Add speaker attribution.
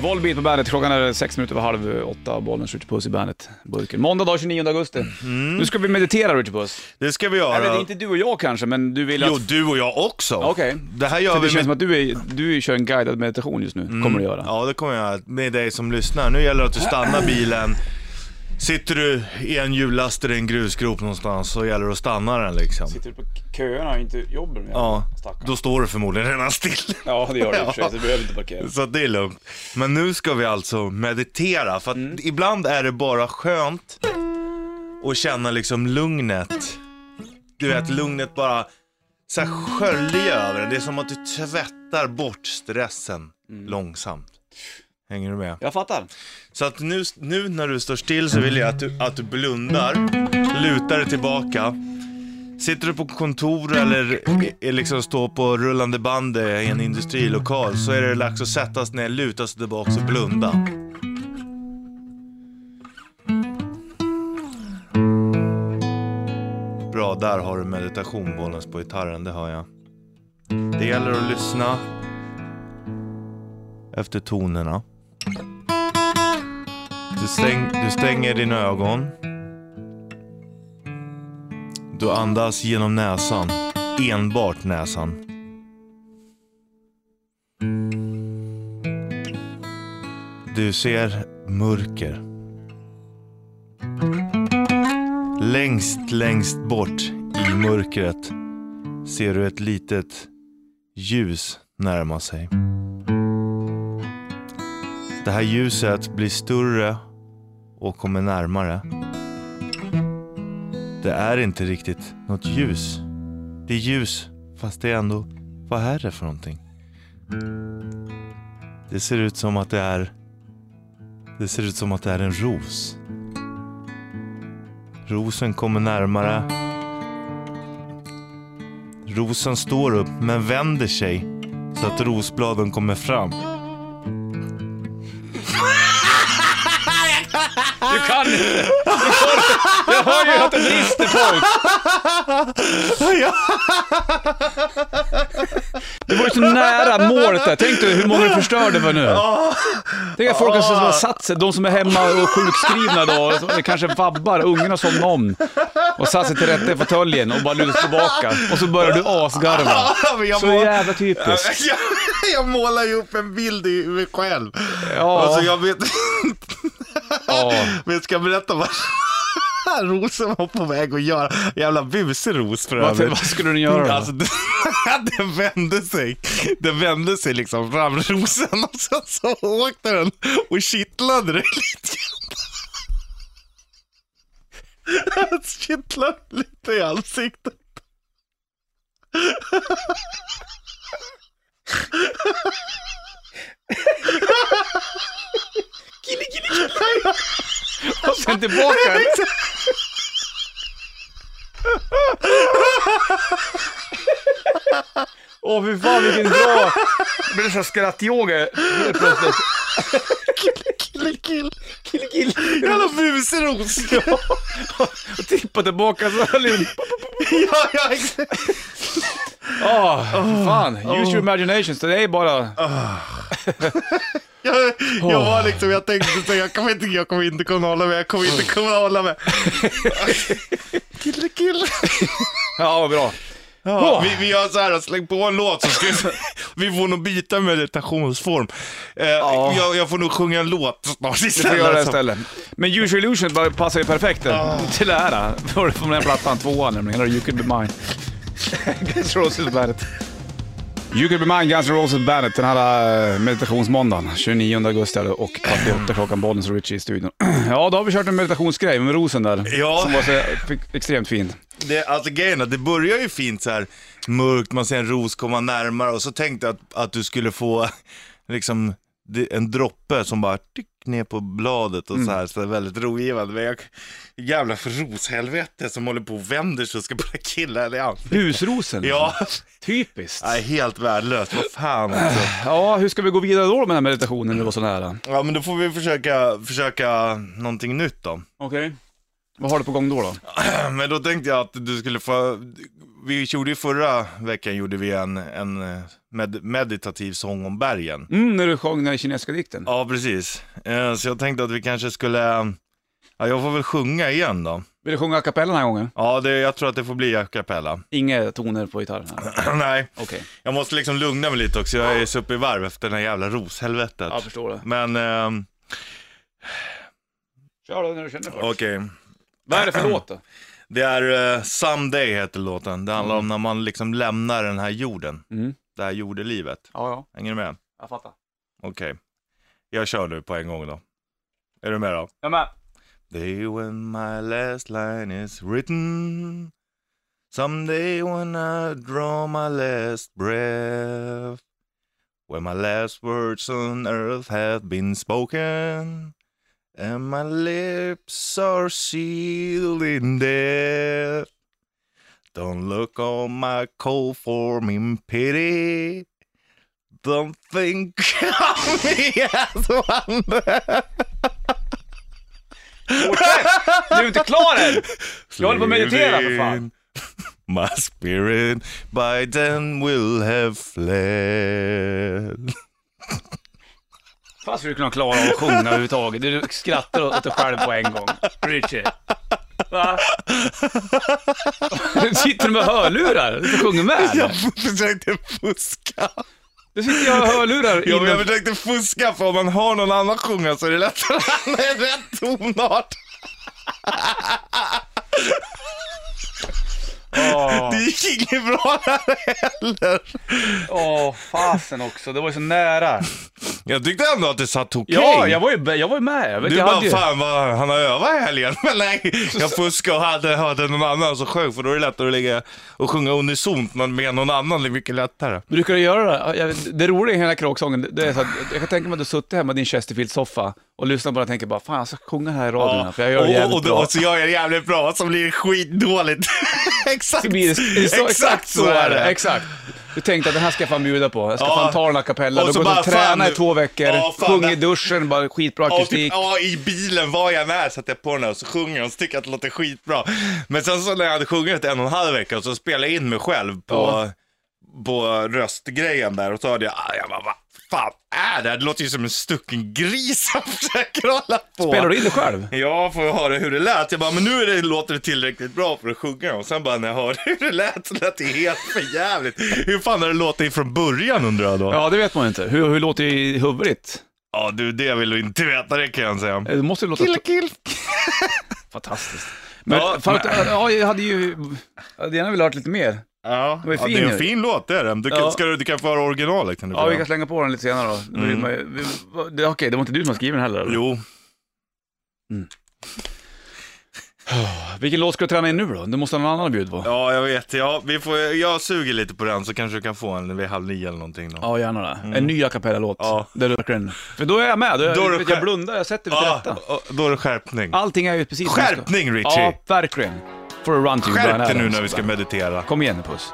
Speaker 1: Volbeat på bandet, klockan är sex minuter över halv åtta, bollen skjuter puss i bandet, burken. Måndag dag 29 augusti.
Speaker 2: Mm.
Speaker 1: Nu ska vi meditera Richard Puss.
Speaker 2: Det ska vi
Speaker 1: Jag vet
Speaker 2: göra.
Speaker 1: inte du och jag kanske, men du vill att...
Speaker 2: Jo, du och jag också.
Speaker 1: Okej.
Speaker 2: Det här gör
Speaker 1: För det
Speaker 2: vi
Speaker 1: känns som
Speaker 2: med... Mm.
Speaker 1: att du, är, du kör en guidad meditation just nu, kommer du göra.
Speaker 2: Ja, det kommer jag göra med dig som lyssnar. Nu gäller det att du stannar bilen. Sitter du i en hjullaster i en grusgrop någonstans så gäller det att stanna den liksom.
Speaker 1: Sitter du på köerna och inte jobbar med
Speaker 2: Ja,
Speaker 1: Stackarn.
Speaker 2: då står du förmodligen redan still.
Speaker 1: Ja, det gör du i och för sig, så du behöver inte parkera.
Speaker 2: Så att det är lugnt. Men nu ska vi alltså meditera, för att ibland är det bara skönt att känna liksom lugnet. Du vet, lugnet bara så här sköljer över en. Det är som att du tvättar bort stressen långsamt. Hänger du med?
Speaker 1: Jag fattar.
Speaker 2: Så att nu, nu när du står still så vill jag att du, att du blundar, lutar dig tillbaka. Sitter du på kontor eller i- i liksom står på rullande band i en industrilokal så är det dags att sättas ner, luta sig tillbaka och blunda. Bra, där har du meditation bollens på gitarren, det hör jag. Det gäller att lyssna efter tonerna. Du, stäng, du stänger dina ögon. Du andas genom näsan. Enbart näsan. Du ser mörker. Längst, längst bort i mörkret ser du ett litet ljus närma sig. Det här ljuset blir större och kommer närmare. Det är inte riktigt något ljus. Det är ljus, fast det är ändå... Vad är det för någonting? Det ser ut som att det är... Det ser ut som att det är en ros. Rosen kommer närmare. Rosen står upp men vänder sig så att rosbladen kommer fram.
Speaker 1: Du kan inte! Jag hör ju att det brister folk! Det var ju så nära målet där. Tänk dig hur många du förstörde för nu. Tänk att folk som har satt sig, de som är hemma och sjukskrivna då, som kanske vabbar, ungarna somnar om och satt sig till rätta i fåtöljen och bara lutar sig tillbaka. Och så börjar du asgarva.
Speaker 2: Men jag
Speaker 1: Så
Speaker 2: må-
Speaker 1: jävla typiskt.
Speaker 2: Jag, jag målar ju upp en bild i mig själv.
Speaker 1: Ja,
Speaker 2: Alltså jag vet
Speaker 1: ja.
Speaker 2: men jag ska berätta vad rosen var på väg att göra. Jävla busig ros för
Speaker 1: Varför,
Speaker 2: övrigt.
Speaker 1: vad skulle den göra då?
Speaker 2: Alltså, den, den vände sig. Den vände sig liksom fram, rosen, och sen så åkte den och kittlade det lite grann. Den Kittlade lite i ansiktet.
Speaker 1: Och sen tillbaka den. Åh fy fan vilken bra... Det blev såhär skrattyoga helt plötsligt.
Speaker 2: Kille, kille.
Speaker 1: Kill, kill.
Speaker 2: Jävla busig ros.
Speaker 1: Och tippa tillbaka så här lite.
Speaker 2: Ja, ja, exakt.
Speaker 1: Åh, Ah, fy fan. Use your imagination. Så det är bara...
Speaker 2: Jag, jag var liksom, jag tänkte så jag kommer inte, jag kommer inte kunna hålla med, jag kommer inte kunna hålla med. Kille, kille.
Speaker 1: Ja, vad bra.
Speaker 2: Ja, vi, vi gör så här, släng på en låt så ska vi, vi får nog byta meditationsform. Eh,
Speaker 1: Ja.
Speaker 2: jag, jag får nog sjunga en låt snart
Speaker 1: Vi får göra det
Speaker 2: istället. som-
Speaker 1: istället. Men Use your illusion bara passar ju perfekt till det här. För från den här plattan, tvåan nämligen. Eller You could be mine. Guns N' Roses Bandet. You could be mine, Guns N' Roses Bandet. Den här eh, meditationsmåndagen, 29 augusti är det och kvart i åtta klockan, bollen och Richie i studion. Ja, då har vi kört en meditationsgrej med rosen där.
Speaker 2: Ja.
Speaker 1: Som var så ex- extremt fin.
Speaker 2: det, alltså grejen är att det börjar ju fint så här mörkt, man ser en ros komma närmare och så tänkte jag att, att du skulle få liksom det- en droppe som bara tick ner på bladet och
Speaker 1: Mm.
Speaker 2: så här, så det är väldigt rogivande. Men jag, jävla roshelvete som håller på och vänder sig och ska bara killa dig i ansiktet.
Speaker 1: Husrosen.
Speaker 2: Ja,
Speaker 1: Typiskt.
Speaker 2: nej, helt värdelöst, vad fan alltså.
Speaker 1: Ja, hur ska vi gå vidare då med den här meditationen när det var så nära?
Speaker 2: Ja men då får vi försöka, försöka någonting nytt då.
Speaker 1: Okej. Vad har du på gång då? då?
Speaker 2: Men då tänkte jag att du skulle få, vi gjorde ju förra veckan gjorde vi en, en eh, med, meditativ sång om bergen.
Speaker 1: Mm, när du sjöng den kinesiska dikten.
Speaker 2: Ja, precis. Eh, Så jag tänkte att vi kanske skulle, ja, jag får väl sjunga igen då.
Speaker 1: Vill du sjunga a cappella den här gången?
Speaker 2: Ja, det, jag tror att det får bli a cappella.
Speaker 1: Inga toner på gitarren här.
Speaker 2: Nej,
Speaker 1: Okej,
Speaker 2: jag måste liksom lugna mig lite också. Jag är så uppe i varv efter det här jävla roshelvetet.
Speaker 1: jag förstår det.
Speaker 2: Men, ehm,
Speaker 1: Kör då när du känner för det.
Speaker 2: okej.
Speaker 1: Vad är det för låt då?
Speaker 2: Det är eh, Someday heter låten. Det handlar om när man liksom lämnar den här jorden.
Speaker 1: Mm.
Speaker 2: Det här jordelivet.
Speaker 1: Ja, ja,
Speaker 2: Hänger du med?
Speaker 1: jag fattar.
Speaker 2: Okej. Jag kör nu på en gång då. Är du med då?
Speaker 1: Jag med.
Speaker 2: Day when my last line is written Someday when I draw my last breath When my last words on earth have been spoken And my lips are sealed in death Don't look on my cold form in pity Don't think of me as one
Speaker 1: Fortsätt! Du är inte klar än! Jag håller på att meditera för fan.
Speaker 2: My spirit by then will have fled.
Speaker 1: Fan skulle du kunna klara av att sjunga överhuvudtaget. Du skrattar åt dig själv på en gång. Richie. Va? Du sitter med hörlurar och sjunger med.
Speaker 2: försökte fuska.
Speaker 1: Du sitter jag med hörlurar
Speaker 2: Ja, men jag
Speaker 1: inne.
Speaker 2: försökte fuska för om man hör någon annan sjunga så är det lättare att hamna i rätt tonart.
Speaker 1: Åh,
Speaker 2: Det gick inget bra där heller.
Speaker 1: åh, fasen också. Det var ju så nära.
Speaker 2: Jag tyckte ändå att det satt okej.
Speaker 1: Ja, jag var ju, jag var ju med. Jag vet,
Speaker 2: Du
Speaker 1: jag
Speaker 2: bara,
Speaker 1: hade ju...
Speaker 2: fan vad han har övat i helgen. Men nej, jag fuskade och hade, hörde någon annan som sjöng för då är det lättare att ligga och sjunga unisont men med någon annan. Det är mycket lättare.
Speaker 1: Brukar du göra det? Ja, jag- Det roliga i hela kråksången, det- det är så att jag kan tänka mig att du suttit hemma i din Chesterfield-soffa och lyssnat på den och tänker bara, fan jag ska sjunga här i radion, för jag gör det
Speaker 2: och,
Speaker 1: jävligt
Speaker 2: och,
Speaker 1: bra.
Speaker 2: och, och så gör jag det jävligt bra, så blir det skitdåligt. exakt,
Speaker 1: Det blir, det är så, exakt, så är det. Exakt. Du tänkte att det här ska jag fan bjuda på. Jag ska
Speaker 2: Ja.
Speaker 1: fan ta den här kapella.
Speaker 2: Och
Speaker 1: Då
Speaker 2: så
Speaker 1: går du
Speaker 2: bara,
Speaker 1: och tränar
Speaker 2: fan,
Speaker 1: i två veckor,
Speaker 2: ja, fan,
Speaker 1: sjunger i
Speaker 2: det-
Speaker 1: duschen, bara skitbra
Speaker 2: Ja, och
Speaker 1: akustik.
Speaker 2: typ, ja, i bilen var jag med satte jag på den här och så sjunger jag och så tycker jag att det låter skitbra. Men sen så när jag hade sjungit en och en halv vecka så spelade jag in mig själv på, på röstgrejen där och så hörde jag, ah, jag bara, vad fan är det här? Det låter ju som en stucken gris som försöker hålla på.
Speaker 1: Spelar du in det själv?
Speaker 2: Ja, får jag höra hur det lät. Jag bara, men nu är det, låter det tillräckligt bra för att sjunga. Och sen bara när jag hörde hur det lät så lät det helt för jävligt. Hur fan har det låtit från början undrar jag då? Ja,
Speaker 1: Ja, det vet man ju inte. Hur, hur låter det i huvudet? Eh,
Speaker 2: du, det vill du inte veta, det kan jag säga.
Speaker 1: Det måste ju låta...
Speaker 2: kill.
Speaker 1: Fantastiskt. Men,
Speaker 2: Ja,
Speaker 1: ja, fan, ja, jag hade ju... Jag hade gärna velat höra lite mer.
Speaker 2: Ja,
Speaker 1: var ju
Speaker 2: ja, det
Speaker 1: fin
Speaker 2: är
Speaker 1: ju.
Speaker 2: en fin låt, det är den. Du kan,
Speaker 1: Ja.
Speaker 2: ska, du- du kan få höra originalet kan du
Speaker 1: Ja,
Speaker 2: få
Speaker 1: vi
Speaker 2: göra.
Speaker 1: kan slänga på den lite senare då. Då blir man ju- vi- va- det- Okej, det var inte du som skrev den heller? eller?
Speaker 2: Mm. Jo,
Speaker 1: Vilken låt ska du träna in nu då? Du måste ha någon annan att bjuda på. Ja,
Speaker 2: ja jag vet. Ja, vi får, jag suger lite på den så kanske du kan få en vid halv nio eller någonting då.
Speaker 1: gärna det. En ny a cappella-låt.
Speaker 2: Mm. Ja.
Speaker 1: Där du verkligen... För då är jag med. Då är,
Speaker 2: Då är
Speaker 1: jag,
Speaker 2: du
Speaker 1: vet,
Speaker 2: själv-
Speaker 1: jag blundar, jag sätter mig till
Speaker 2: Ja,
Speaker 1: rätta.
Speaker 2: och- då är det skärpning.
Speaker 1: Allting är ju precis som det ska.
Speaker 2: Skärpning Richie!
Speaker 1: Ja, verkligen. For a run to you, Brian
Speaker 2: Skärp dig
Speaker 1: Adams.
Speaker 2: nu när vi ska meditera.
Speaker 1: Kom igen nu, Puss.